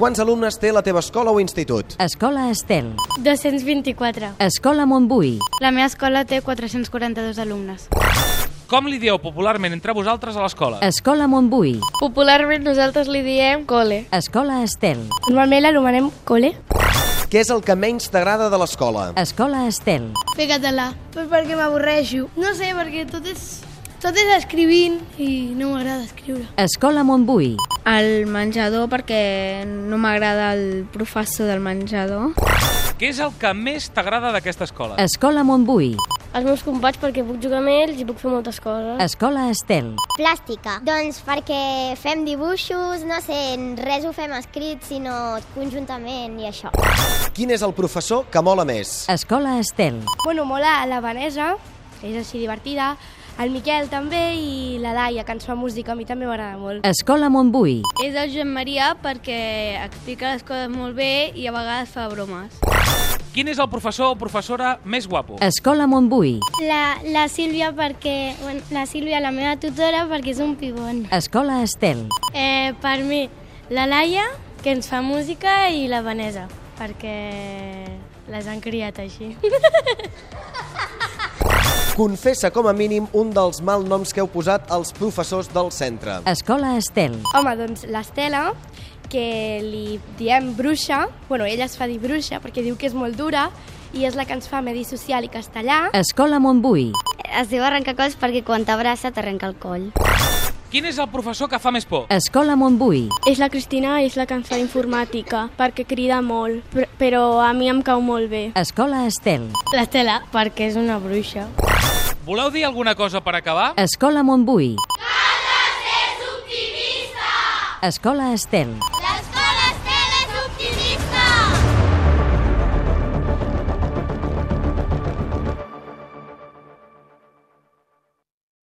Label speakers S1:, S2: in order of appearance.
S1: Quants alumnes té la teva escola o institut?
S2: Escola Estel.
S3: 224.
S2: Escola Montbui.
S3: La meva escola té 442 alumnes.
S4: Com li dieu popularment entre vosaltres a l'escola?
S2: Escola Montbui.
S3: Popularment nosaltres li diem cole.
S2: Escola Estel.
S3: Normalment l'anomenem cole.
S1: Què és el que menys t'agrada de l'escola?
S2: Escola Estel.
S3: Fer català. Pues perquè m'avorreixo. No sé, perquè tot és, tot és escrivint i no m'agrada escriure.
S2: Escola Montbui.
S5: Al menjador perquè no m'agrada el professor del menjador.
S4: Què és el que més t'agrada d'aquesta escola?
S2: Escola Montbui.
S3: Els meus companys perquè puc jugar amb ells i puc fer moltes coses.
S2: Escola Estel.
S6: Plàstica. Doncs perquè fem dibuixos, no sé, res ho fem escrit, sinó conjuntament i això.
S1: Quin és el professor que mola més?
S2: Escola Estel.
S3: Bueno, mola la Vanessa, és així divertida, el Miquel també i la Laia, que ens fa música, a mi també m'agrada molt.
S2: Escola Montbui.
S5: És el Joan Maria perquè explica les coses molt bé i a vegades fa bromes.
S4: Quin és el professor o professora més guapo?
S2: Escola Montbui.
S3: La, la Sílvia perquè... Bueno, la Sílvia, la meva tutora, perquè és un pibon.
S2: Escola Estel.
S3: Eh, per mi, la Laia, que ens fa música, i la Vanessa, perquè les han criat així.
S1: Confessa com a mínim un dels malnoms que heu posat als professors del centre.
S2: Escola Estel.
S3: Home, doncs l'Estela, que li diem bruixa, bueno, ella es fa dir bruixa perquè diu que és molt dura i és la que ens fa medi social i castellà.
S2: Escola Montbui.
S6: Es diu arrencar colls perquè quan t'abraça t'arrenca el coll.
S4: Quin és el professor que fa més por?
S2: Escola Montbui.
S3: És la Cristina, és la que ens fa informàtica, perquè crida molt, però a mi em cau molt bé.
S2: Escola Estel.
S3: L'Estela, perquè és una bruixa.
S4: Voleu dir alguna cosa per acabar?
S2: Escola Montbui. Carles és optimista! Escola Estel.